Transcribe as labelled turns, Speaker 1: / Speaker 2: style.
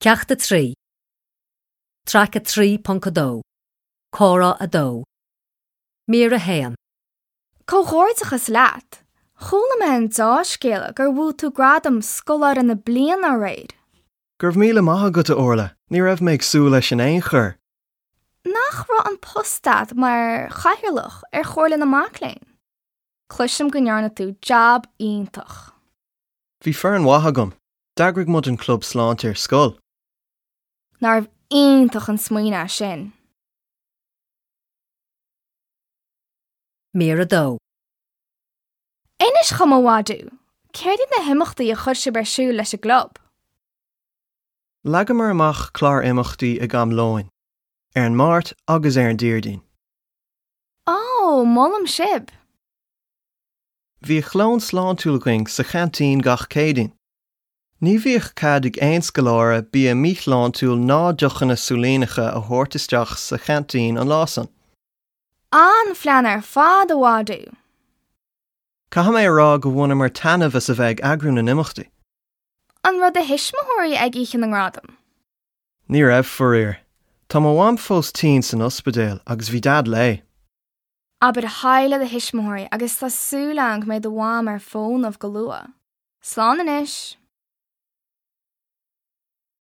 Speaker 1: Ceachta trí Tracha trí pancadó Córa a dó Mí a héan
Speaker 2: Cóhirteachas leat, Chúna me an dáscéile gur bhú tú gradam scolar in na blian a réid.
Speaker 3: Gurb míle maithe go orla, ní raibh méid sú leis an éon chur.
Speaker 2: Nach ra an postad mar chahirirlach ar chóirla na máléin. Cluisim gonearna tú jab ítach.
Speaker 3: Bhí fear an wathagam, dagraigh mud an club sláint ar scoil.
Speaker 2: Nar bh ítach an smuoine sin.
Speaker 1: mí a dó
Speaker 2: Inis chamháú, céirad na himachtaí a chuir si bersú leis a glob.
Speaker 3: Legam mar amach chlár imachtaí a gam láin, ar an mát agus ar an díirdín.
Speaker 2: Ó, mollam sib.
Speaker 3: Bhí chlán sláintúlaing sa chatíín gach cédin. Ní bhíoh cad ag aon scalára bí a míláánúil ná dochan na súlínacha a thuirtasteach sa chatíín an lásan.
Speaker 2: An flean ar fád aháú.
Speaker 3: Caha mé rá go bhna mar tanmh a bheith agrún na imachtaí,
Speaker 2: An rud a hisismathirí ag íchan an rádam.
Speaker 3: ní raibh forréir. Tá má bhaim fós tí san ospedéal agus bhí dad lei.
Speaker 2: Aber háile a hisismóirí agus tá súlang méid do bháim ar fón ah goúa. Slán inis.